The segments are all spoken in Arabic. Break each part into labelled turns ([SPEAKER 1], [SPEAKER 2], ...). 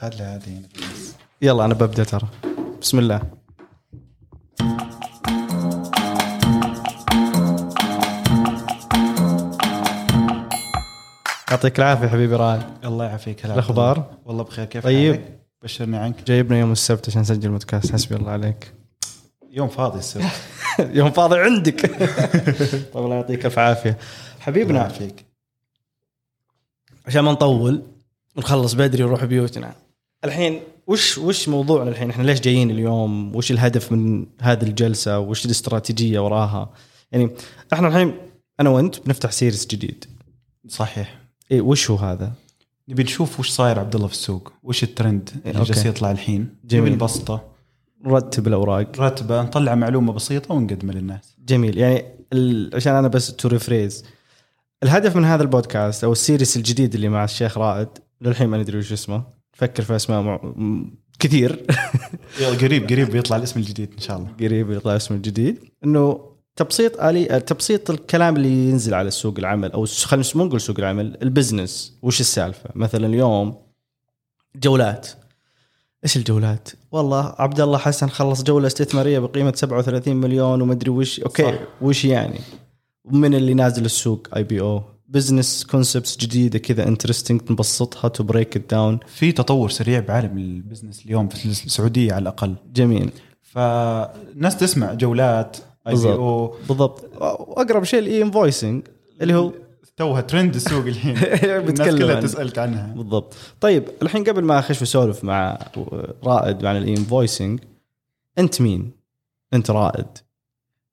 [SPEAKER 1] هات لي هذه
[SPEAKER 2] يلا انا ببدا ترى بسم الله يعطيك العافيه حبيبي رائد
[SPEAKER 1] الله يعافيك هلا
[SPEAKER 2] الأخبار؟
[SPEAKER 1] عبد الله. والله بخير كيف
[SPEAKER 2] طيب.
[SPEAKER 1] حالك؟ بشرني عنك
[SPEAKER 2] جايبنا يوم السبت عشان نسجل بودكاست حسبي الله عليك
[SPEAKER 1] يوم فاضي السبت
[SPEAKER 2] يوم فاضي عندك طيب الله يعطيك الف عافيه
[SPEAKER 1] الله
[SPEAKER 2] حبيبنا
[SPEAKER 1] يعافيك
[SPEAKER 2] عشان ما نطول ونخلص بدري ونروح بيوتنا الحين وش وش موضوعنا الحين احنا ليش جايين اليوم وش الهدف من هذه الجلسه وش الاستراتيجيه وراها يعني احنا الحين انا وانت بنفتح سيريس جديد
[SPEAKER 1] صحيح
[SPEAKER 2] إيه وش هو هذا
[SPEAKER 1] نبي نشوف وش صاير عبد الله في السوق وش الترند اللي
[SPEAKER 2] أوكي.
[SPEAKER 1] جالس يطلع الحين
[SPEAKER 2] جميل.
[SPEAKER 1] نبي نبسطه
[SPEAKER 2] رتب الاوراق
[SPEAKER 1] رتبه نطلع معلومه بسيطه ونقدمها للناس
[SPEAKER 2] جميل يعني ال... عشان انا بس تو ريفريز الهدف من هذا البودكاست او السيريس الجديد اللي مع الشيخ رائد للحين ما ندري وش اسمه فكر في اسماء مع... م- كثير
[SPEAKER 1] يلا قريب قريب بيطلع الاسم الجديد ان شاء الله
[SPEAKER 2] قريب يطلع اسمه الجديد انه تبسيط الي تبسيط الكلام اللي ينزل على سوق العمل او س- خلينا نس- ما نقول سوق العمل البزنس وش السالفه مثلا اليوم جولات ايش الجولات؟ والله عبد الله حسن خلص جوله استثماريه بقيمه 37 مليون ومدري وش اوكي
[SPEAKER 1] صح.
[SPEAKER 2] صح. وش يعني؟ من اللي نازل السوق اي بي او بزنس كونسبتس جديده كذا انترستنج نبسطها تو بريك داون
[SPEAKER 1] في تطور سريع بعالم البزنس اليوم في السعوديه على الاقل
[SPEAKER 2] جميل
[SPEAKER 1] فالناس تسمع جولات اي بي
[SPEAKER 2] بالضبط.
[SPEAKER 1] او
[SPEAKER 2] بالضبط وأ- واقرب شيء الاي انفويسنج اللي هو
[SPEAKER 1] توها ترند السوق الحين الناس
[SPEAKER 2] بتكلم
[SPEAKER 1] كلها
[SPEAKER 2] عنه.
[SPEAKER 1] تسالك عنها
[SPEAKER 2] بالضبط طيب الحين قبل ما اخش واسولف مع رائد عن الانفويسنج انت مين انت رائد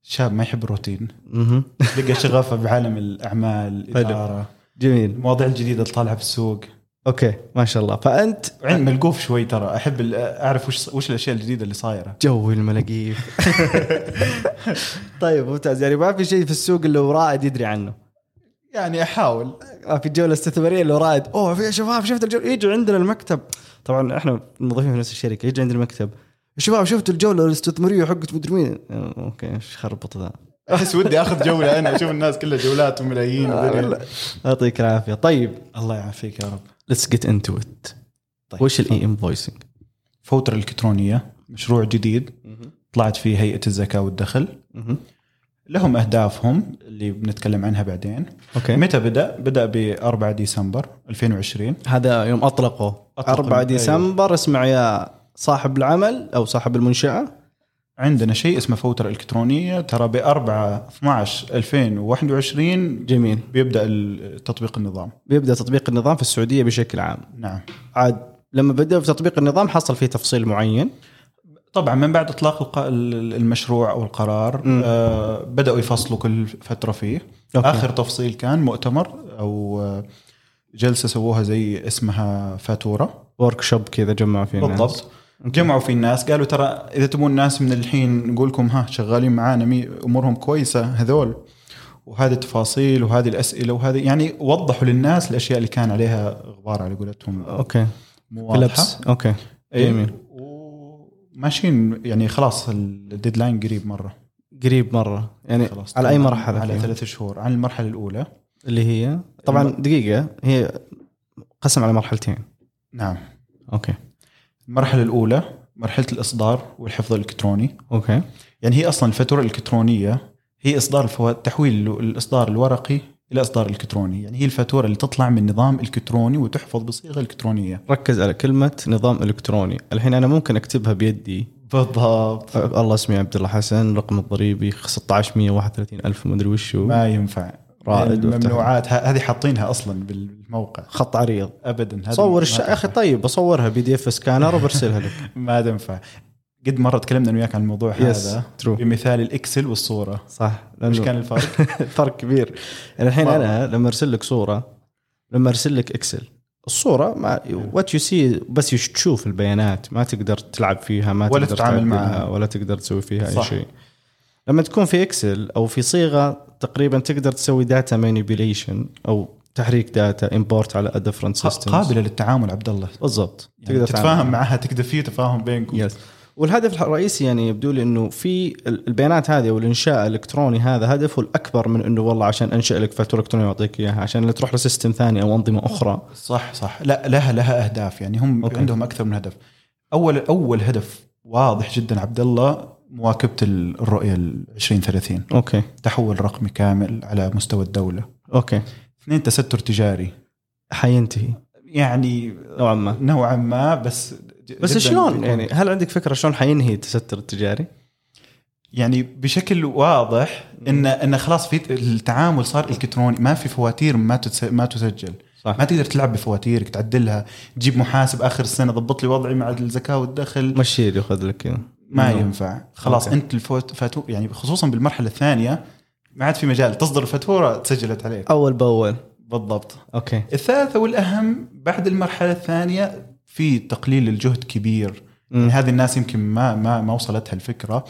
[SPEAKER 1] شاب ما يحب الروتين
[SPEAKER 2] مهم.
[SPEAKER 1] لقى شغفه بعالم الاعمال الاداره
[SPEAKER 2] جميل
[SPEAKER 1] المواضيع الجديده اللي طالعه في السوق
[SPEAKER 2] اوكي ما شاء الله فانت
[SPEAKER 1] عين ملقوف شوي ترى احب ال- اعرف وش وش الاشياء الجديده اللي صايره
[SPEAKER 2] جوي الملاقيف طيب ممتاز يعني ما في شيء في السوق اللي هو رائد يدري عنه
[SPEAKER 1] يعني احاول
[SPEAKER 2] ما في جوله استثماريه اللي هو رائد اوه في يا شباب شفت الجوله يجوا عندنا المكتب طبعا احنا موظفين في نفس الشركه يجي عندنا المكتب يا شباب شفت الجوله الاستثماريه حقت مدري مين اوكي ايش خربط ذا
[SPEAKER 1] احس ودي اخذ جوله انا اشوف الناس كلها جولات وملايين ودنيا.
[SPEAKER 2] يعطيك العافيه طيب
[SPEAKER 1] الله يعافيك يا رب
[SPEAKER 2] ليتس جيت انتو ات
[SPEAKER 1] طيب.
[SPEAKER 2] وش الاي انفويسنج؟
[SPEAKER 1] فوتره الكترونيه مشروع جديد طلعت فيه هيئه الزكاه والدخل لهم اهدافهم اللي بنتكلم عنها بعدين
[SPEAKER 2] اوكي
[SPEAKER 1] متى بدا بدا ب 4 ديسمبر 2020
[SPEAKER 2] هذا يوم اطلقوا
[SPEAKER 1] أطلقوا.
[SPEAKER 2] 4 ديسمبر اسمع يا صاحب العمل او صاحب المنشاه
[SPEAKER 1] عندنا شيء اسمه فوتره الكترونيه ترى ب 4 12 2021
[SPEAKER 2] جميل
[SPEAKER 1] بيبدا ال- تطبيق النظام
[SPEAKER 2] بيبدا تطبيق النظام في السعوديه بشكل عام
[SPEAKER 1] نعم
[SPEAKER 2] عاد لما بدا في تطبيق النظام حصل فيه تفصيل معين
[SPEAKER 1] طبعا من بعد اطلاق الق- ال- المشروع او القرار
[SPEAKER 2] مم.
[SPEAKER 1] آه بداوا يفصلوا كل فتره فيه
[SPEAKER 2] أوكي.
[SPEAKER 1] أوكي. اخر تفصيل كان مؤتمر او آه، جلسه سووها زي اسمها فاتوره
[SPEAKER 2] ورك شوب كذا جمعوا فيه الناس.
[SPEAKER 1] بالضبط جمعوا فيه الناس قالوا ترى اذا تبون الناس من الحين نقول لكم ها شغالين معانا مي امورهم كويسه هذول وهذه التفاصيل وهذه الاسئله وهذه يعني وضحوا للناس الاشياء اللي كان عليها غبار على قولتهم
[SPEAKER 2] اوكي
[SPEAKER 1] مو واضحه
[SPEAKER 2] كلبس اوكي
[SPEAKER 1] إيه.
[SPEAKER 2] جميل
[SPEAKER 1] وماشيين يعني خلاص الديدلاين قريب مره
[SPEAKER 2] قريب مره يعني
[SPEAKER 1] خلاص
[SPEAKER 2] على اي مرحله
[SPEAKER 1] على
[SPEAKER 2] فيها؟
[SPEAKER 1] ثلاث شهور عن المرحله الاولى
[SPEAKER 2] اللي هي طبعا دقيقه هي قسم على مرحلتين
[SPEAKER 1] نعم
[SPEAKER 2] اوكي
[SPEAKER 1] المرحله الاولى مرحله الاصدار والحفظ الالكتروني
[SPEAKER 2] اوكي
[SPEAKER 1] يعني هي اصلا الفاتوره الالكترونيه هي اصدار الفو... تحويل الاصدار الورقي الى اصدار الكتروني يعني هي الفاتوره اللي تطلع من نظام الكتروني وتحفظ بصيغه الكترونيه
[SPEAKER 2] ركز على كلمة نظام الكتروني، الحين انا ممكن اكتبها بيدي
[SPEAKER 1] بالضبط
[SPEAKER 2] أه، الله اسمي عبد الله حسن، رقم الضريبي 16131 الف مدري وش هو.
[SPEAKER 1] ما ينفع
[SPEAKER 2] رائد وافتخر.
[SPEAKER 1] يعني ممنوعات ه- هذه حاطينها اصلا بالموقع
[SPEAKER 2] خط عريض
[SPEAKER 1] ابدا هذه ما
[SPEAKER 2] صور الش...
[SPEAKER 1] تنفع.
[SPEAKER 2] يا اخي طيب بصورها بي دي اف سكانر وبرسلها لك
[SPEAKER 1] ما تنفع قد مره تكلمنا انا وياك عن الموضوع
[SPEAKER 2] يس
[SPEAKER 1] هذا
[SPEAKER 2] ترو
[SPEAKER 1] بمثال الاكسل والصوره
[SPEAKER 2] صح
[SPEAKER 1] ايش
[SPEAKER 2] لانه
[SPEAKER 1] كان الفرق؟
[SPEAKER 2] فرق كبير يعني الحين
[SPEAKER 1] مرة.
[SPEAKER 2] انا لما ارسل لك صورة لما ارسل لك اكسل الصوره ما وات يو سي بس يش- تشوف البيانات ما تقدر تلعب فيها ما
[SPEAKER 1] ولا
[SPEAKER 2] تقدر
[SPEAKER 1] تتعامل
[SPEAKER 2] تعدلها،
[SPEAKER 1] معها.
[SPEAKER 2] ولا تقدر تسوي فيها اي
[SPEAKER 1] صح.
[SPEAKER 2] شيء لما تكون في اكسل او في صيغه تقريبا تقدر تسوي داتا مانيبيليشن او تحريك داتا امبورت على ديفرنت
[SPEAKER 1] ق-
[SPEAKER 2] سيستمز
[SPEAKER 1] قابله للتعامل عبد الله
[SPEAKER 2] بالضبط
[SPEAKER 1] يعني
[SPEAKER 2] تقدر تعمل.
[SPEAKER 1] تتفاهم معها تقدر في تفاهم بينكم
[SPEAKER 2] يس والهدف الرئيسي يعني يبدو لي انه في ال- البيانات هذه والانشاء الالكتروني هذا هدفه الاكبر من انه والله عشان انشا لك فاتوره الكترونيه واعطيك اياها عشان لا تروح لسيستم ثاني او انظمه اخرى
[SPEAKER 1] صح صح لا لها لها اهداف يعني هم
[SPEAKER 2] أوكي.
[SPEAKER 1] أوكي. عندهم اكثر من هدف اول اول هدف واضح جدا عبد الله مواكبه ال- الرؤيه ال 2030
[SPEAKER 2] اوكي
[SPEAKER 1] تحول رقمي كامل على مستوى الدوله
[SPEAKER 2] اوكي
[SPEAKER 1] اثنين تستر تجاري
[SPEAKER 2] حينتهي
[SPEAKER 1] يعني
[SPEAKER 2] نوعا ما
[SPEAKER 1] نوعا ما بس
[SPEAKER 2] بس
[SPEAKER 1] جداً
[SPEAKER 2] شلون
[SPEAKER 1] بيكون-
[SPEAKER 2] يعني هل عندك فكره شلون حينهي التستر التجاري؟
[SPEAKER 1] يعني بشكل واضح ان ان خلاص في التعامل صار الكتروني ما في فواتير ما تتس- ما تسجل
[SPEAKER 2] صح
[SPEAKER 1] ما تقدر تلعب بفواتيرك تعدلها تجيب محاسب اخر السنه ضبط لي وضعي مع الزكاه والدخل
[SPEAKER 2] مشير ياخذ لك إياه.
[SPEAKER 1] ما
[SPEAKER 2] نعم.
[SPEAKER 1] ينفع خلاص
[SPEAKER 2] أوكي.
[SPEAKER 1] انت الفاتو يعني خصوصا بالمرحله الثانيه ما عاد في مجال تصدر الفاتوره تسجلت عليك
[SPEAKER 2] اول باول
[SPEAKER 1] بالضبط
[SPEAKER 2] اوكي
[SPEAKER 1] الثالثه والاهم بعد المرحله الثانيه في تقليل الجهد كبير
[SPEAKER 2] مم.
[SPEAKER 1] يعني هذه الناس يمكن ما ما ما وصلتها الفكره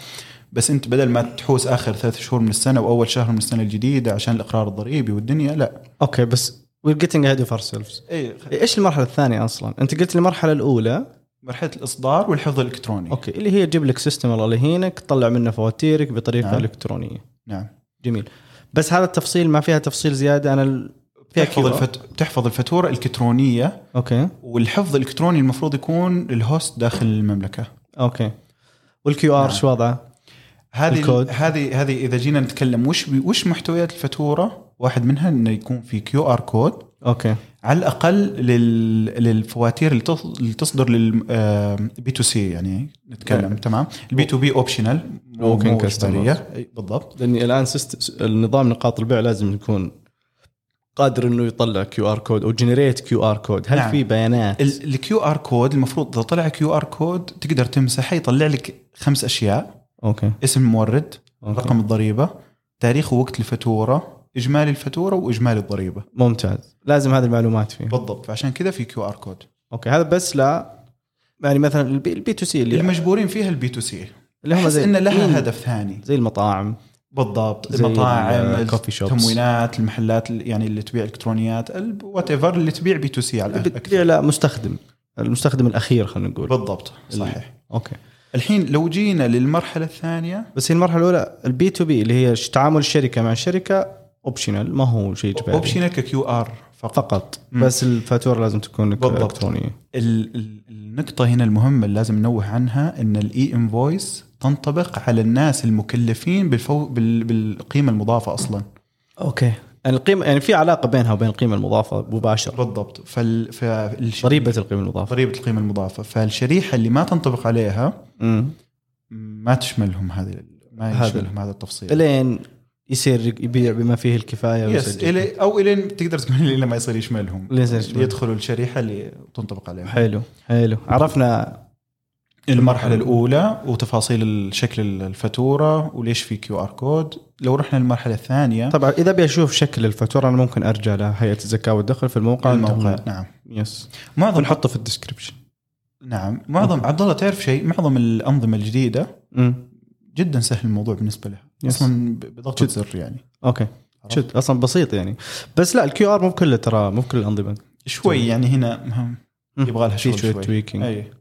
[SPEAKER 1] بس انت بدل ما تحوس اخر ثلاث شهور من السنه واول شهر من السنه الجديده عشان الاقرار الضريبي والدنيا لا
[SPEAKER 2] اوكي بس we're getting ahead of ourselves
[SPEAKER 1] اي
[SPEAKER 2] ايش المرحله الثانيه اصلا؟ انت قلت لي المرحله
[SPEAKER 1] إيه.
[SPEAKER 2] الاولى
[SPEAKER 1] مرحله الاصدار والحفظ الالكتروني
[SPEAKER 2] اوكي اللي هي تجيب لك سيستم الله لا يهينك تطلع منه فواتيرك بطريقه
[SPEAKER 1] نعم.
[SPEAKER 2] الكترونيه
[SPEAKER 1] نعم
[SPEAKER 2] جميل بس هذا التفصيل ما فيها تفصيل زياده انا ال- فيها
[SPEAKER 1] تحفظ
[SPEAKER 2] كيو
[SPEAKER 1] الفت... تحفظ الفاتوره الالكترونيه
[SPEAKER 2] اوكي
[SPEAKER 1] والحفظ الالكتروني المفروض يكون للهوست داخل المملكه
[SPEAKER 2] اوكي والكيو ار
[SPEAKER 1] نعم.
[SPEAKER 2] شو وضعه؟ الكود.
[SPEAKER 1] هذه هذه هذه اذا جينا نتكلم وش بي- وش محتويات الفاتوره واحد منها انه يكون في كيو ار كود
[SPEAKER 2] اوكي
[SPEAKER 1] على الاقل لل... للفواتير اللي تص- اللي تصدر لل آه، بي تو سي يعني نتكلم تمام البي تو بي اوبشنال
[SPEAKER 2] نعم. Walking customers.
[SPEAKER 1] بالضبط
[SPEAKER 2] لاني الان سيست... النظام نقاط البيع لازم يكون قادر انه يطلع كيو ار كود او جنريت كيو ار كود هل
[SPEAKER 1] نعم.
[SPEAKER 2] في بيانات
[SPEAKER 1] الكيو ار كود المفروض اذا طلع كيو ار كود تقدر تمسحه يطلع لك خمس اشياء
[SPEAKER 2] اوكي
[SPEAKER 1] اسم المورد
[SPEAKER 2] أوكي.
[SPEAKER 1] رقم الضريبه تاريخ ووقت الفاتوره اجمالي الفاتوره واجمالي الضريبه
[SPEAKER 2] ممتاز لازم هذه المعلومات فيه
[SPEAKER 1] بالضبط فعشان كذا في كيو ار كود
[SPEAKER 2] اوكي هذا بس لا يعني مثلا البي, البي تو سي اللي,
[SPEAKER 1] المجبورين فيها البي تو سي
[SPEAKER 2] اللي هم
[SPEAKER 1] احس
[SPEAKER 2] زي
[SPEAKER 1] ان لها
[SPEAKER 2] مم.
[SPEAKER 1] هدف ثاني
[SPEAKER 2] زي المطاعم
[SPEAKER 1] بالضبط
[SPEAKER 2] زي ال-
[SPEAKER 1] المطاعم
[SPEAKER 2] coffee shops.
[SPEAKER 1] التموينات المحلات ال- يعني اللي تبيع الكترونيات وات ايفر اللي تبيع بي تو سي على الأقل
[SPEAKER 2] بتبيع
[SPEAKER 1] أكثر.
[SPEAKER 2] لمستخدم المستخدم الاخير خلينا نقول
[SPEAKER 1] بالضبط صحيح
[SPEAKER 2] اوكي
[SPEAKER 1] الحين لو جينا للمرحله الثانيه
[SPEAKER 2] بس هي المرحله الاولى البي تو بي اللي هي ش- تعامل الشركه مع الشركه اوبشنال ما هو شيء اجباري
[SPEAKER 1] اوبشنال ككيو ار فقط
[SPEAKER 2] فقط بس الفاتوره لازم تكون لك
[SPEAKER 1] بالضبط.
[SPEAKER 2] الكترونيه
[SPEAKER 1] ال- ال- النقطة هنا المهمة اللي لازم ننوه عنها ان الاي انفويس تنطبق على الناس المكلفين بالفو بال- بالقيمة المضافة اصلا
[SPEAKER 2] اوكي يعني القيمه يعني في علاقه بينها وبين القيمه المضافه مباشره
[SPEAKER 1] بالضبط فال... فال...
[SPEAKER 2] ضريبه القيمه المضافه
[SPEAKER 1] ضريبة القيمة المضافة فالشريحة اللي ما تنطبق عليها
[SPEAKER 2] امم
[SPEAKER 1] ما تشملهم هذه
[SPEAKER 2] هذا.
[SPEAKER 1] ما يشملهم هذا التفصيل
[SPEAKER 2] الين يصير يبيع بما فيه الكفايه
[SPEAKER 1] يس
[SPEAKER 2] ويسجل.
[SPEAKER 1] إلي او الين تقدر تقول الى ما يصير يشملهم
[SPEAKER 2] لين يصير يشمل.
[SPEAKER 1] يدخلوا الشريحه اللي تنطبق عليها
[SPEAKER 2] حلو حلو عرفنا
[SPEAKER 1] المرحله الاولى وتفاصيل شكل الفاتوره وليش في كيو ار كود لو رحنا للمرحله الثانيه
[SPEAKER 2] طبعا اذا ابي اشوف شكل الفاتوره انا ممكن ارجع لهيئه الزكاه والدخل في الموقع
[SPEAKER 1] الموقع نعم
[SPEAKER 2] يس
[SPEAKER 1] معظم
[SPEAKER 2] بنحطه في الديسكربشن
[SPEAKER 1] نعم معظم عبد الله تعرف شيء معظم الانظمه الجديده
[SPEAKER 2] امم
[SPEAKER 1] جدا سهل الموضوع بالنسبه لها
[SPEAKER 2] Yes.
[SPEAKER 1] اصلا ب- بضغطه
[SPEAKER 2] جد.
[SPEAKER 1] زر يعني
[SPEAKER 2] اوكي
[SPEAKER 1] عرفت.
[SPEAKER 2] شد اصلا بسيط يعني بس لا الكيو ار مو بكله ترى مو بكل الانظمه
[SPEAKER 1] شوي يعني هنا مهم.
[SPEAKER 2] مم.
[SPEAKER 1] يبغى لها
[SPEAKER 2] في
[SPEAKER 1] شغل
[SPEAKER 2] شويه
[SPEAKER 1] شوي
[SPEAKER 2] تويكينج
[SPEAKER 1] اي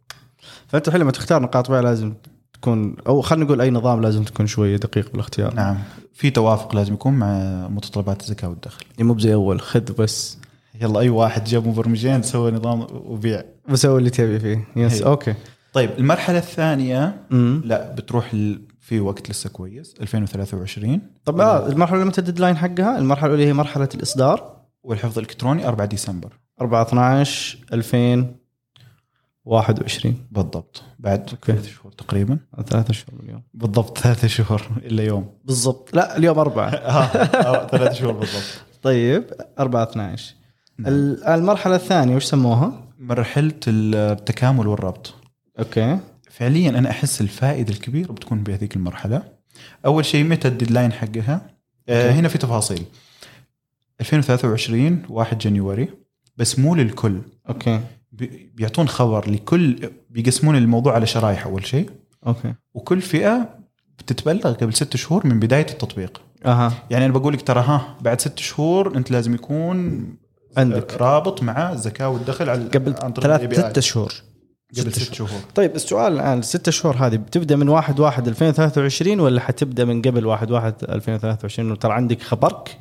[SPEAKER 2] فانت الحين لما تختار نقاط بيع لازم تكون او خلينا نقول اي نظام لازم تكون شويه دقيق بالاختيار
[SPEAKER 1] نعم في توافق لازم يكون مع متطلبات الزكاه والدخل
[SPEAKER 2] يعني مو زي اول خذ بس
[SPEAKER 1] يلا اي واحد جاب مبرمجين سوى نظام وبيع
[SPEAKER 2] وسوي اللي تبي فيه يس
[SPEAKER 1] هي.
[SPEAKER 2] اوكي
[SPEAKER 1] طيب المرحله الثانيه
[SPEAKER 2] امم
[SPEAKER 1] لا بتروح ل... في وقت لسه كويس 2023
[SPEAKER 2] طب آه المرحله اللي متى الديدلاين حقها المرحله الاولى هي مرحله الاصدار
[SPEAKER 1] والحفظ الالكتروني 4 ديسمبر
[SPEAKER 2] 4 12 2021
[SPEAKER 1] بالضبط بعد
[SPEAKER 2] أوكي.
[SPEAKER 1] ثلاث شهور تقريبا
[SPEAKER 2] ثلاثة اشهر من اليوم
[SPEAKER 1] بالضبط ثلاث شهور الا يوم
[SPEAKER 2] بالضبط لا اليوم أربعة
[SPEAKER 1] آه، ثلاث شهور بالضبط
[SPEAKER 2] طيب أربعة 12
[SPEAKER 1] نعم.
[SPEAKER 2] ال- المرحلة الثانية وش سموها؟
[SPEAKER 1] مرحله التكامل والربط
[SPEAKER 2] اوكي
[SPEAKER 1] فعليا انا احس الفائده الكبيره بتكون بهذيك المرحله اول شيء متى الديدلاين حقها آه
[SPEAKER 2] أوكي.
[SPEAKER 1] هنا في تفاصيل 2023 1 جانيوري بس مو للكل
[SPEAKER 2] اوكي
[SPEAKER 1] بي- بيعطون خبر لكل بيقسمون الموضوع على شرايح اول شيء
[SPEAKER 2] اوكي
[SPEAKER 1] وكل فئه بتتبلغ قبل ست شهور من بدايه التطبيق
[SPEAKER 2] اها
[SPEAKER 1] يعني انا بقول لك ترى ها بعد ست شهور انت لازم يكون
[SPEAKER 2] عندك
[SPEAKER 1] أه، رابط مع الزكاه والدخل على
[SPEAKER 2] قبل
[SPEAKER 1] عن طريق
[SPEAKER 2] ثلاث
[SPEAKER 1] ال API.
[SPEAKER 2] ست اشهر
[SPEAKER 1] قبل ست شهور
[SPEAKER 2] طيب السؤال الان الست شهور هذه بتبدا من 1 1 2023 ولا حتبدا من قبل 1 1 2023 انه ترى عندك خبرك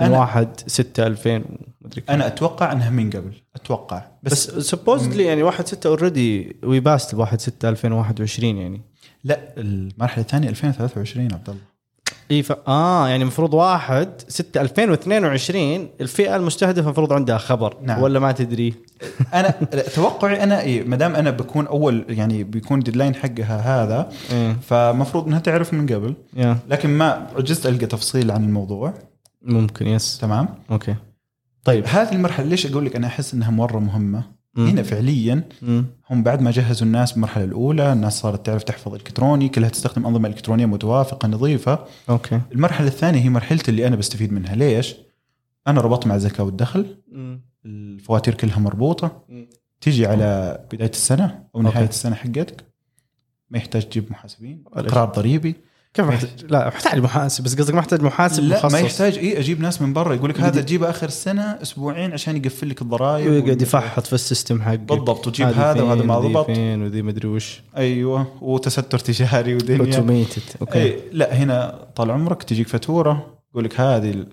[SPEAKER 2] من
[SPEAKER 1] أنا-
[SPEAKER 2] 1 6 2000 ومدري كم.
[SPEAKER 1] انا اتوقع انها من قبل اتوقع
[SPEAKER 2] بس سبوزدلي يعني 1 6 اوريدي وي باست 1 6 2021 يعني
[SPEAKER 1] لا المرحله الثانيه 2023 عبد الله
[SPEAKER 2] اي ف... اه يعني المفروض 1 6 2022 الفئه المستهدفه المفروض عندها خبر
[SPEAKER 1] نعم.
[SPEAKER 2] ولا ما تدري
[SPEAKER 1] انا توقعي انا إيه ما دام انا بكون اول يعني بيكون ديدلاين حقها هذا
[SPEAKER 2] إيه.
[SPEAKER 1] فمفروض انها تعرف من قبل
[SPEAKER 2] يا
[SPEAKER 1] لكن ما عجزت القى تفصيل عن الموضوع
[SPEAKER 2] ممكن يس
[SPEAKER 1] تمام
[SPEAKER 2] اوكي
[SPEAKER 1] طيب هذه المرحله ليش اقول لك انا احس انها مره مهمه
[SPEAKER 2] مم.
[SPEAKER 1] هنا فعليا
[SPEAKER 2] مم.
[SPEAKER 1] هم بعد ما جهزوا الناس بالمرحله الاولى الناس صارت تعرف تحفظ الكتروني كلها تستخدم انظمه الكترونيه متوافقه نظيفه
[SPEAKER 2] اوكي
[SPEAKER 1] المرحله الثانيه هي مرحلتي اللي انا بستفيد منها ليش انا ربطت مع الزكاه والدخل
[SPEAKER 2] مم.
[SPEAKER 1] الفواتير كلها مربوطه
[SPEAKER 2] مم.
[SPEAKER 1] تيجي على بدايه السنه او نهايه
[SPEAKER 2] أوكي.
[SPEAKER 1] السنه حقتك ما يحتاج تجيب محاسبين
[SPEAKER 2] ولا
[SPEAKER 1] اقرار ضريبي
[SPEAKER 2] كيف محتاج لا محتاج محاسب بس قصدك محتاج محاسب
[SPEAKER 1] يعني لا
[SPEAKER 2] مخصص
[SPEAKER 1] ما يحتاج اي اجيب ناس من برا يقول لك هذا
[SPEAKER 2] يقعد-
[SPEAKER 1] تجيبه اخر السنه اسبوعين عشان يقفل لك الضرائب
[SPEAKER 2] ويقعد
[SPEAKER 1] وال-
[SPEAKER 2] يفحط في السيستم حقك
[SPEAKER 1] بالضبط، وتجيب هذا وهذا ما ضبط.
[SPEAKER 2] فين وذي مدري وش
[SPEAKER 1] ايوه وتستر تجاري ودنيا
[SPEAKER 2] اوتوميتد اوكي
[SPEAKER 1] اي لا هنا طال عمرك تجيك فاتوره يقول لك هذه ال-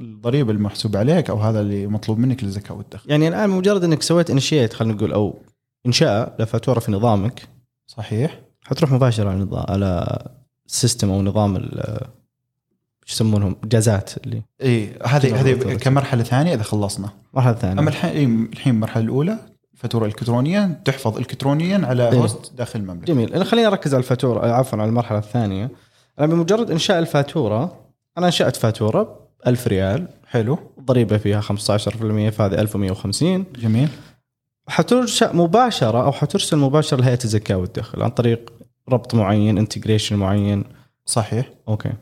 [SPEAKER 1] الضريبه المحسوب عليك او هذا اللي مطلوب منك للزكاه والدخل
[SPEAKER 2] يعني الان مجرد انك سويت انشيت خلينا نقول او انشاء لفاتوره في نظامك
[SPEAKER 1] صحيح
[SPEAKER 2] حتروح مباشره على نظام على السيستم او نظام ال- شو يسمونهم جازات اللي
[SPEAKER 1] اي هذه هذه
[SPEAKER 2] بالضبط.
[SPEAKER 1] كمرحله ثانيه اذا خلصنا
[SPEAKER 2] مرحله ثانيه
[SPEAKER 1] اما الحين إيه، الحين المرحله الاولى فاتوره الكترونيه تحفظ الكترونيا على
[SPEAKER 2] إيه.
[SPEAKER 1] هوست داخل المملكه
[SPEAKER 2] جميل أنا خليني اركز على الفاتوره عفوا على المرحله الثانيه انا بمجرد انشاء الفاتوره انا انشات فاتوره 1000 ريال
[SPEAKER 1] حلو
[SPEAKER 2] ضريبه فيها 15% فهذه 1150
[SPEAKER 1] جميل
[SPEAKER 2] حترشأ مباشره او حترسل مباشره لهيئه الزكاه والدخل عن طريق ربط معين انتجريشن معين
[SPEAKER 1] صحيح
[SPEAKER 2] اوكي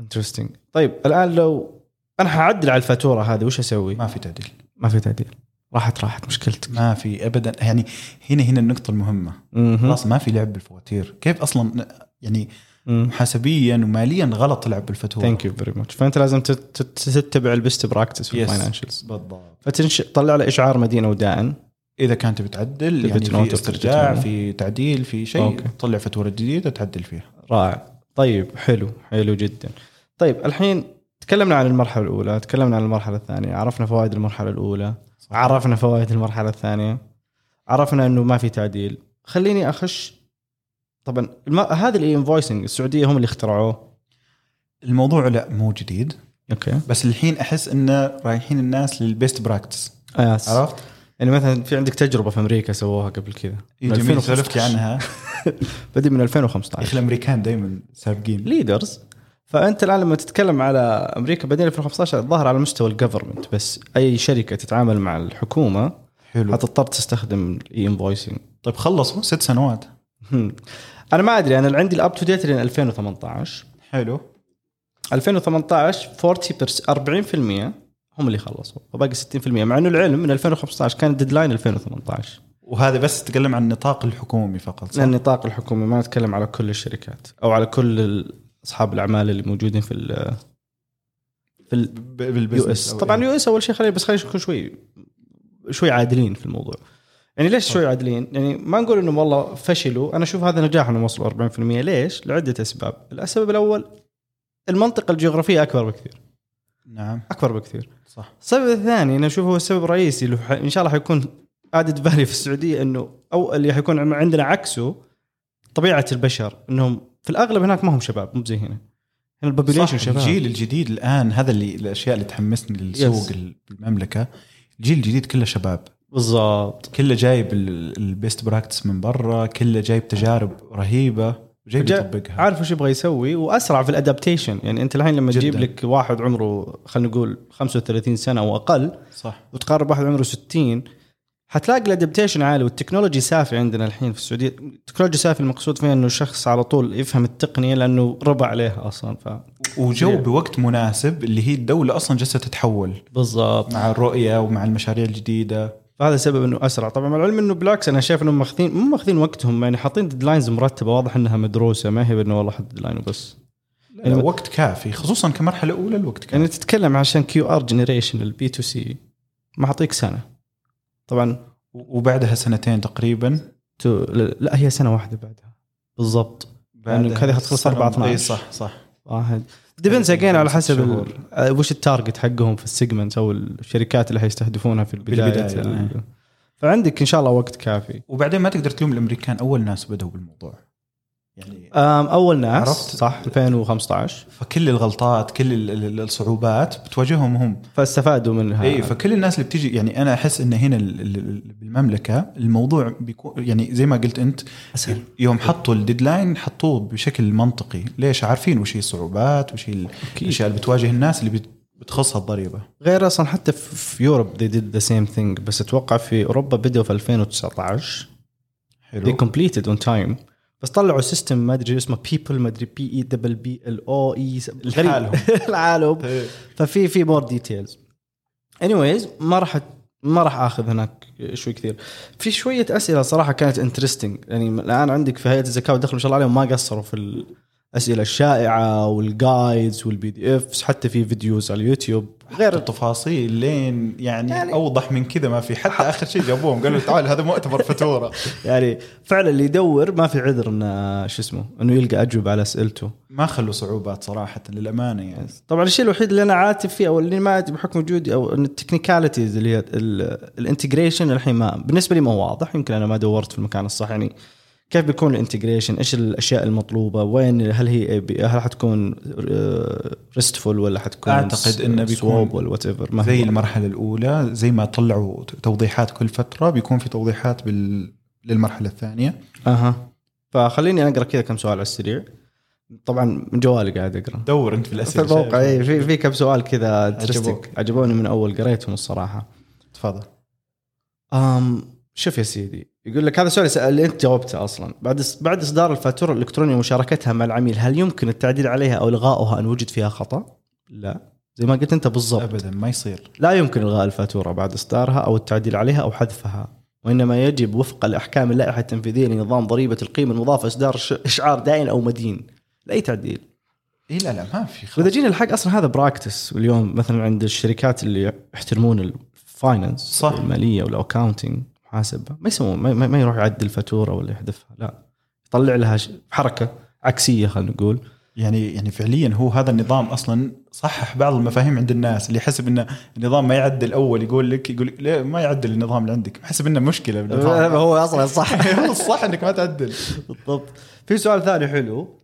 [SPEAKER 2] انترستنج طيب الان لو انا حعدل على الفاتوره هذه وش اسوي؟
[SPEAKER 1] ما في تعديل
[SPEAKER 2] ما في تعديل راحت راحت مشكلتك
[SPEAKER 1] ما في ابدا يعني هنا هنا النقطه المهمه
[SPEAKER 2] مهم.
[SPEAKER 1] خلاص ما في لعب بالفواتير كيف اصلا يعني
[SPEAKER 2] مهم.
[SPEAKER 1] محاسبيا وماليا غلط تلعب بالفاتوره
[SPEAKER 2] ثانك يو فيري ماتش فانت لازم تت- تت- تتبع البيست براكتس في
[SPEAKER 1] Yes.
[SPEAKER 2] الفاينانشلز
[SPEAKER 1] بالضبط
[SPEAKER 2] فتنش طلع له اشعار مدينه ودائن
[SPEAKER 1] اذا كان تبي تعدل
[SPEAKER 2] تبي
[SPEAKER 1] يعني
[SPEAKER 2] تنوع،
[SPEAKER 1] في
[SPEAKER 2] تبي
[SPEAKER 1] استرجاع
[SPEAKER 2] تنوع.
[SPEAKER 1] في تعديل في شيء
[SPEAKER 2] أوكي.
[SPEAKER 1] تطلع فاتوره جديده تعدل فيها
[SPEAKER 2] رائع طيب حلو حلو جدا طيب الحين تكلمنا عن المرحله الاولى تكلمنا عن المرحله الثانيه عرفنا فوائد المرحله الاولى
[SPEAKER 1] صح.
[SPEAKER 2] عرفنا فوائد المرحله الثانيه عرفنا انه ما في تعديل خليني اخش طبعا الم... هذا الانفويسنج السعوديه هم اللي اخترعوه
[SPEAKER 1] الموضوع لا مو جديد
[SPEAKER 2] اوكي
[SPEAKER 1] بس الحين احس انه رايحين الناس للبيست براكتس
[SPEAKER 2] آس.
[SPEAKER 1] عرفت؟
[SPEAKER 2] يعني مثلا في عندك تجربه في امريكا سووها قبل كذا
[SPEAKER 1] إيه، جميل سولفتي عنها
[SPEAKER 2] بدي من
[SPEAKER 1] يا
[SPEAKER 2] 2015
[SPEAKER 1] اخي الامريكان دائما سابقين
[SPEAKER 2] ليدرز فانت الان لما تتكلم على امريكا بعدين 2015 الظاهر على مستوى الجفرمنت بس اي شركه تتعامل مع الحكومه
[SPEAKER 1] حلو
[SPEAKER 2] حتضطر تستخدم الاي انفويسنج
[SPEAKER 1] طيب خلصوا ست سنوات
[SPEAKER 2] انا ما ادري انا اللي عندي الاب تو ديت لين 2018
[SPEAKER 1] حلو
[SPEAKER 2] 2018 40% 40% هم اللي خلصوا وباقي 60% مع انه العلم من 2015 كان الديدلاين 2018
[SPEAKER 1] وهذا بس تتكلم عن النطاق الحكومي فقط صح؟
[SPEAKER 2] لان النطاق الحكومي ما نتكلم على كل الشركات او على كل ال- اصحاب الاعمال اللي موجودين في ال في ال
[SPEAKER 1] ب-
[SPEAKER 2] يو
[SPEAKER 1] بالبزنس
[SPEAKER 2] اس
[SPEAKER 1] أو
[SPEAKER 2] طبعا
[SPEAKER 1] إيه.
[SPEAKER 2] يو اس اول شيء خلينا بس خلينا نكون شوي شوي عادلين في الموضوع يعني ليش شوي عادلين؟ يعني ما نقول انهم والله فشلوا انا اشوف هذا نجاح انهم وصلوا 40% ليش؟ لعده اسباب، السبب الاول المنطقه الجغرافيه اكبر بكثير
[SPEAKER 1] نعم
[SPEAKER 2] اكبر بكثير
[SPEAKER 1] صح
[SPEAKER 2] السبب الثاني انا اشوفه هو السبب الرئيسي اللي ح- ان شاء الله حيكون ادد فاليو في السعوديه انه او اللي حيكون عم- عندنا عكسه طبيعه البشر انهم في الاغلب هناك ما هم شباب مو زي هنا هنا
[SPEAKER 1] صح،
[SPEAKER 2] البوبيليشن شباب
[SPEAKER 1] الجيل الجديد الان هذا اللي الاشياء اللي تحمسني للسوق
[SPEAKER 2] Yes.
[SPEAKER 1] المملكه الجيل الجديد كله شباب
[SPEAKER 2] بالضبط
[SPEAKER 1] كله جايب البيست براكتس من برا كله جايب تجارب رهيبه وجايب
[SPEAKER 2] جا-
[SPEAKER 1] يطبقها
[SPEAKER 2] عارف وش يبغى يسوي واسرع في الادابتيشن يعني انت الحين لما
[SPEAKER 1] جداً.
[SPEAKER 2] تجيب لك واحد عمره خلينا نقول 35 سنه او اقل
[SPEAKER 1] صح
[SPEAKER 2] وتقارب واحد عمره 60 حتلاقي الادابتيشن عالي والتكنولوجي سافي عندنا الحين في السعوديه التكنولوجي سافي المقصود فيها انه الشخص على طول يفهم التقنيه لانه ربع عليها اصلا ف
[SPEAKER 1] وجو
[SPEAKER 2] سريع.
[SPEAKER 1] بوقت مناسب اللي هي الدوله اصلا جالسه تتحول
[SPEAKER 2] بالضبط
[SPEAKER 1] مع الرؤيه ومع المشاريع الجديده
[SPEAKER 2] فهذا سبب انه اسرع طبعا مع العلم انه بالعكس انا شايف انهم ماخذين مو ماخذين وقتهم يعني حاطين ديدلاينز مرتبه واضح انها مدروسه ما هي انه والله حط ديدلاين وبس
[SPEAKER 1] لا، وقت كافي خصوصا كمرحله اولى الوقت كافي
[SPEAKER 2] يعني تتكلم عشان كيو ار جنريشن البي تو سي ما اعطيك سنه طبعا
[SPEAKER 1] وبعدها سنتين تقريبا
[SPEAKER 2] تو... لا هي سنه واحده بعدها بالضبط لأنه
[SPEAKER 1] بعدها
[SPEAKER 2] هذه حتخلص
[SPEAKER 1] سنة-
[SPEAKER 2] 14.
[SPEAKER 1] اي صح صح
[SPEAKER 2] واحد ديبندز اجين على حسب ال-
[SPEAKER 1] شهور.
[SPEAKER 2] آه، وش التارجت حقهم في السيجمنت او الشركات اللي حيستهدفونها في البدايه
[SPEAKER 1] بالبداية،
[SPEAKER 2] ال-
[SPEAKER 1] إيه.
[SPEAKER 2] فعندك ان شاء الله وقت كافي
[SPEAKER 1] وبعدين ما تقدر تلوم الامريكان اول ناس بدوا بالموضوع يعني
[SPEAKER 2] أم، اول ناس
[SPEAKER 1] عرفت؟
[SPEAKER 2] صح 2015
[SPEAKER 1] فكل الغلطات كل ال- ال- الصعوبات بتواجههم هم
[SPEAKER 2] فاستفادوا منها
[SPEAKER 1] اي فكل الناس اللي بتيجي يعني انا احس ان هنا ال- ال- ال- بالمملكه الموضوع بيكون يعني زي ما قلت انت
[SPEAKER 2] أسهل.
[SPEAKER 1] يوم حطوا الديدلاين حطوه بشكل منطقي ليش عارفين وش هي الصعوبات وش هي ال- الاشياء اللي بتواجه الناس اللي بت- بتخصها الضريبه
[SPEAKER 2] غير اصلا حتى في في يوروب they did the same thing بس اتوقع في اوروبا بدأوا في 2019 they
[SPEAKER 1] حلو
[SPEAKER 2] completed on time بس طلعوا سيستم ما ادري اسمه بيبل ما E ادري بي اي دبل بي ال او اي
[SPEAKER 1] لحالهم.
[SPEAKER 2] العالم
[SPEAKER 1] إيه.
[SPEAKER 2] E، ففي في مور ديتيلز anyways ما راح ما راح اخذ هناك شوي كثير في شويه اسئله صراحه كانت انترستنج يعني الان عندك في هيئه الزكاه والدخل ما شاء الله عليهم ما قصروا في الاسئله الشائعه والجايدز والبي دي افس حتى في فيديوز على اليوتيوب
[SPEAKER 1] غير التفاصيل لين يعني,
[SPEAKER 2] يعني-
[SPEAKER 1] يعني اوضح من كذا ما في حتى اخر شيء جابوهم قالوا تعال هذا مؤتمر فاتوره
[SPEAKER 2] يعني فعلا اللي يدور ما في عذر انه شو اسمه انه يلقى اجوبه على اسئلته
[SPEAKER 1] ما خلوا صعوبات صراحه للامانه يعني
[SPEAKER 2] طبعا الشيء الوحيد اللي انا عاتب فيه او اللي ما أدري بحكم وجودي او ان التكنيكاليتيز اللي هي الانتجريشن الحين ما بالنسبه لي ما هو واضح يمكن انا ما دورت في المكان الصح يعني كيف بيكون الانتجريشن؟ ايش الاشياء المطلوبه؟ وين هل هي هل حتكون ريستفول ولا حتكون
[SPEAKER 1] أعتقد إنه بيكون
[SPEAKER 2] سواب ولا وات ايفر
[SPEAKER 1] زي المرحله الاولى زي ما طلعوا توضيحات كل فتره بيكون في توضيحات بال للمرحله الثانيه
[SPEAKER 2] اها فخليني اقرا كذا كم سؤال على السريع طبعا من جوالي قاعد اقرا
[SPEAKER 1] دور انت في
[SPEAKER 2] في
[SPEAKER 1] الاسئله
[SPEAKER 2] الموقع اي إيه، في في كم سؤال كذا interesting.
[SPEAKER 1] عجبوك.
[SPEAKER 2] عجبوني من اول قريتهم الصراحه
[SPEAKER 1] تفضل
[SPEAKER 2] أم شوف يا سيدي يقول لك هذا السؤال اللي انت جاوبته اصلا بعد بعد اصدار الفاتوره الالكترونيه ومشاركتها مع العميل هل يمكن التعديل عليها او الغاؤها ان وجد فيها خطا؟ لا زي ما قلت انت بالضبط
[SPEAKER 1] ابدا ما يصير
[SPEAKER 2] لا يمكن الغاء الفاتوره بعد اصدارها او التعديل عليها او حذفها وانما يجب وفقا لاحكام اللائحه التنفيذيه لنظام ضريبه القيمه المضافه اصدار ش- اشعار دائن او مدين لاي تعديل
[SPEAKER 1] اي إيه، لا لا ما في خلاص.
[SPEAKER 2] واذا جينا الحق اصلا هذا براكتس واليوم مثلا عند الشركات اللي يحترمون الفاينانس
[SPEAKER 1] صح.
[SPEAKER 2] الماليه والاكونتنج محاسبه ما يسوون ما, ما ما يروح يعدل فاتوره ولا يحذفها لا يطلع لها ش- حركه عكسيه خلينا نقول
[SPEAKER 1] يعني يعني فعليا هو هذا النظام اصلا صحح بعض المفاهيم عند الناس اللي يحسب انه النظام ما يعدل اول يقول لك يقول لك ليه ما يعدل النظام اللي عندك حسب انه مشكله بالنظام
[SPEAKER 2] أه، هو اصلا صح
[SPEAKER 1] هو الصح انك ما تعدل
[SPEAKER 2] بالضبط في سؤال ثاني حلو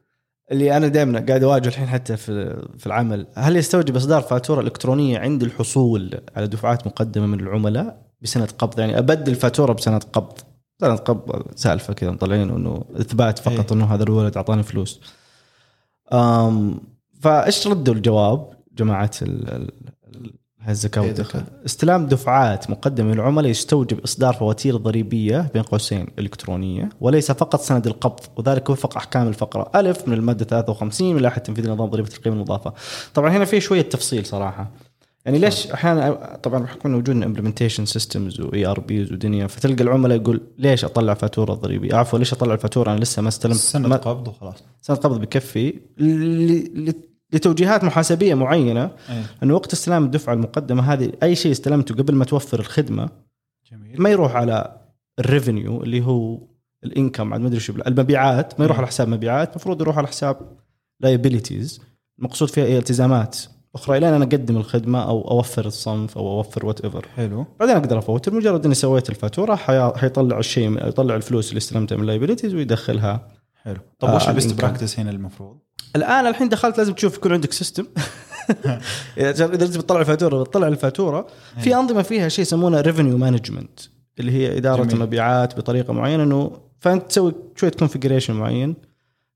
[SPEAKER 2] اللي انا دائما قاعد اواجهه الحين حتى في في العمل هل يستوجب اصدار فاتوره الكترونيه عند الحصول على دفعات مقدمه من العملاء بسنه قبض يعني ابدل فاتوره بسنه قبض سنه قبض سالفه كذا مطلعين انه اثبات فقط انه هذا الولد اعطاني فلوس أم فايش ردوا الجواب جماعه ال ال ال- الزكاه
[SPEAKER 1] إيه،
[SPEAKER 2] والدخل
[SPEAKER 1] دخل.
[SPEAKER 2] استلام دفعات مقدمه من العملاء يستوجب اصدار فواتير ضريبيه بين قوسين الكترونيه وليس فقط سند القبض وذلك وفق احكام الفقره الف من الماده 53 من لائحه تنفيذ نظام ضريبه القيمه المضافه طبعا هنا في شويه تفصيل صراحه يعني ليش احيانا طبعا بحكم وجود امبلمنتيشن سيستمز واي ار بيز ودنيا فتلقى العملاء يقول ليش اطلع فاتوره ضريبيه عفوا ليش اطلع الفاتوره انا لسه ما استلمت
[SPEAKER 1] سنه
[SPEAKER 2] ما-
[SPEAKER 1] قبض وخلاص
[SPEAKER 2] سنه قبض بكفي ل- ل- لتوجيهات محاسبيه معينه
[SPEAKER 1] أيه.
[SPEAKER 2] انه وقت استلام الدفعه المقدمه هذه اي شيء استلمته قبل ما توفر الخدمه
[SPEAKER 1] جميل
[SPEAKER 2] ما يروح على الريفنيو اللي هو الانكم عاد ما ادري شو بال- المبيعات ما يروح على حساب مبيعات المفروض يروح على حساب لايبيليتيز المقصود فيها هي التزامات اخرى الين انا اقدم الخدمه او اوفر الصنف او اوفر وات ايفر
[SPEAKER 1] حلو
[SPEAKER 2] بعدين اقدر افوت مجرد اني سويت الفاتوره حيا- حيطلع الشيء يطلع الفلوس اللي استلمتها من لايبيليتيز ويدخلها
[SPEAKER 1] حلو طب
[SPEAKER 2] آه،
[SPEAKER 1] وش البيست
[SPEAKER 2] الإنكم.
[SPEAKER 1] براكتس هنا المفروض؟
[SPEAKER 2] الان الحين دخلت لازم تشوف يكون عندك سيستم اذا اذا لازم تطلع الفاتوره بتطلع الفاتوره
[SPEAKER 1] إيه.
[SPEAKER 2] في انظمه فيها شيء يسمونه ريفينيو مانجمنت اللي هي اداره
[SPEAKER 1] جميل.
[SPEAKER 2] المبيعات بطريقه معينه انه فانت تسوي شويه كونفجريشن معين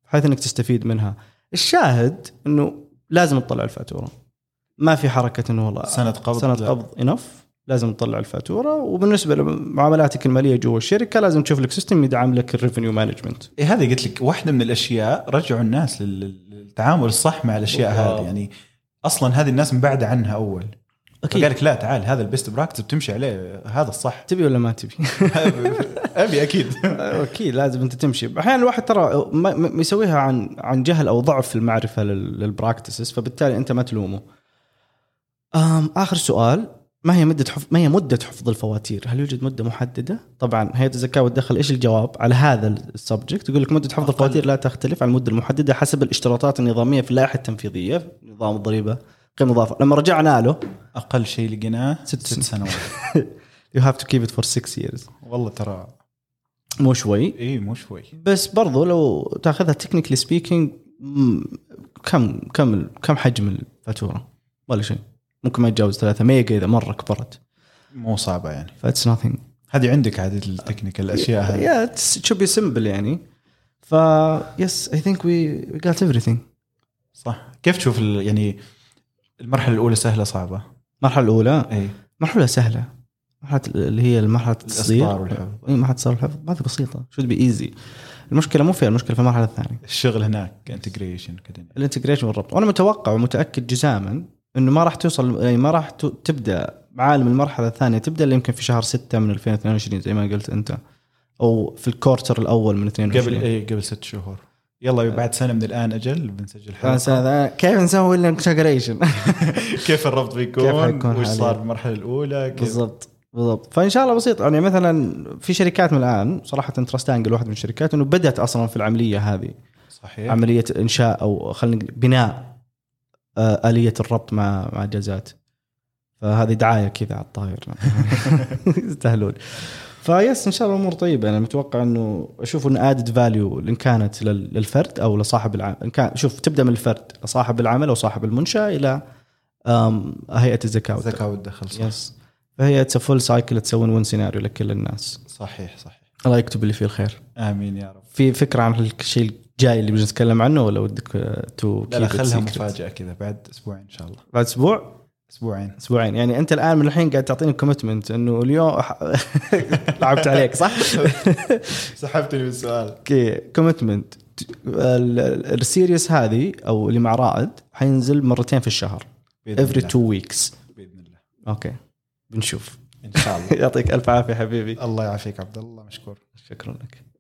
[SPEAKER 2] بحيث انك تستفيد منها الشاهد انه لازم تطلع الفاتوره ما في حركه انه والله
[SPEAKER 1] سنة قبض
[SPEAKER 2] سنه
[SPEAKER 1] لا.
[SPEAKER 2] قبض انف لازم تطلع الفاتوره وبالنسبه لمعاملاتك الماليه جوا الشركه لازم تشوف لك سيستم يدعم لك الريفينيو مانجمنت
[SPEAKER 1] إيه هذه قلت لك واحده من الاشياء رجعوا الناس لل- لل- للتعامل الصح مع الاشياء
[SPEAKER 2] بالضبط.
[SPEAKER 1] هذه يعني اصلا هذه الناس مبعده عنها اول
[SPEAKER 2] أكيد.
[SPEAKER 1] اكيد قال لك لا تعال هذا البيست براكتس بتمشي عليه هذا الصح
[SPEAKER 2] تبي ولا ما تبي
[SPEAKER 1] ابي اكيد
[SPEAKER 2] اكيد أه، لازم انت تمشي احيانا الواحد ترى ما ما يسويها عن عن جهل او ضعف في المعرفه لل- للبراكتسز فبالتالي انت ما تلومه أم اخر سؤال ما هي مده حفظ ما هي مده حفظ الفواتير؟ هل يوجد مده محدده؟ طبعا هيئه الزكاه والدخل ايش الجواب على هذا السبجكت؟ يقول لك مده حفظ الفواتير لا تختلف عن المده المحدده حسب الاشتراطات النظاميه في اللائحه التنفيذيه نظام الضريبه قيمه اضافه لما رجعنا له
[SPEAKER 1] اقل شيء لقيناه ست, ست سنوات
[SPEAKER 2] يو هاف تو كيب ات فور 6 ييرز
[SPEAKER 1] والله ترى
[SPEAKER 2] مو شوي
[SPEAKER 1] اي مو شوي
[SPEAKER 2] بس برضو لو تاخذها تكنيكلي سبيكينج كم كم كم حجم الفاتوره؟ ولا شيء ممكن ما يتجاوز 3 ميجا اذا مره كبرت
[SPEAKER 1] مو صعبه يعني
[SPEAKER 2] فاتس nothing
[SPEAKER 1] هذه عندك عاد التكنيكال الاشياء هذه
[SPEAKER 2] يا شو بي سمبل يعني ف يس اي ثينك وي جات everything
[SPEAKER 1] صح كيف تشوف ال- يعني المرحله الاولى سهله صعبه
[SPEAKER 2] المرحله الاولى
[SPEAKER 1] اي
[SPEAKER 2] مرحله سهله مرحله اللي هي المرحله التصدير
[SPEAKER 1] والحفظ.
[SPEAKER 2] اي مرحله التصدير والحفظ هذه بسيطه شو بي ايزي المشكله مو فيها المشكله في المرحله الثانيه
[SPEAKER 1] الشغل هناك انتجريشن كذا
[SPEAKER 2] الانتجريشن والربط وانا متوقع ومتاكد جزاما انه ما راح توصل يعني ما راح ت- تبدا معالم المرحله الثانيه تبدا الا يمكن في شهر 6 من 2022 زي ما قلت انت او في الكورتر الاول من 22
[SPEAKER 1] قبل إيه؟ اي قبل ست شهور يلا بعد سنه من الان اجل بنسجل حلقه
[SPEAKER 2] بس هذا كيف نسوي الانتجريشن
[SPEAKER 1] كيف الربط
[SPEAKER 2] كيف
[SPEAKER 1] بيكون
[SPEAKER 2] حيكون
[SPEAKER 1] وش
[SPEAKER 2] حاليا؟
[SPEAKER 1] صار بالمرحله الاولى كيف
[SPEAKER 2] بالضبط بالضبط فان شاء الله بسيط يعني مثلا في شركات من الان صراحه تراست انجل واحد من الشركات انه بدات اصلا في العمليه هذه
[SPEAKER 1] صحيح
[SPEAKER 2] عمليه انشاء او خلينا نقول بناء آه، اليه الربط مع مع الجازات فهذه دعايه كذا على الطاير يستاهلون فيس ان شاء الله الامور طيبه انا متوقع انه اشوف انه ادد فاليو ان كانت لل- للفرد او لصاحب العمل ان كان شوف تبدا من الفرد لصاحب العمل او صاحب المنشاه الى آم، هيئه الزكاه والدخل.
[SPEAKER 1] الزكاه والدخل صح.
[SPEAKER 2] يس فهي اتس فول سايكل تسوون ون سيناريو لكل الناس
[SPEAKER 1] صحيح صحيح
[SPEAKER 2] الله يكتب اللي فيه الخير
[SPEAKER 1] امين يا رب
[SPEAKER 2] في فكره عن الشيء الجاي اللي بنتكلم عنه ولا ودك تو
[SPEAKER 1] لا لا خلها مفاجاه كذا بعد اسبوعين ان شاء الله
[SPEAKER 2] بعد اسبوع
[SPEAKER 1] اسبوعين
[SPEAKER 2] اسبوعين يعني انت الان من الحين قاعد تعطيني كوميتمنت انه اليوم لعبت عليك صح؟
[SPEAKER 1] سحبتني بالسؤال
[SPEAKER 2] اوكي كوميتمنت السيريس هذه او اللي مع رائد حينزل مرتين في الشهر
[SPEAKER 1] بإذن
[SPEAKER 2] افري
[SPEAKER 1] الله.
[SPEAKER 2] تو ويكس
[SPEAKER 1] باذن الله
[SPEAKER 2] اوكي بنشوف
[SPEAKER 1] ان شاء الله
[SPEAKER 2] يعطيك الف عافيه حبيبي
[SPEAKER 1] الله يعافيك عبد الله مشكور
[SPEAKER 2] شكرا لك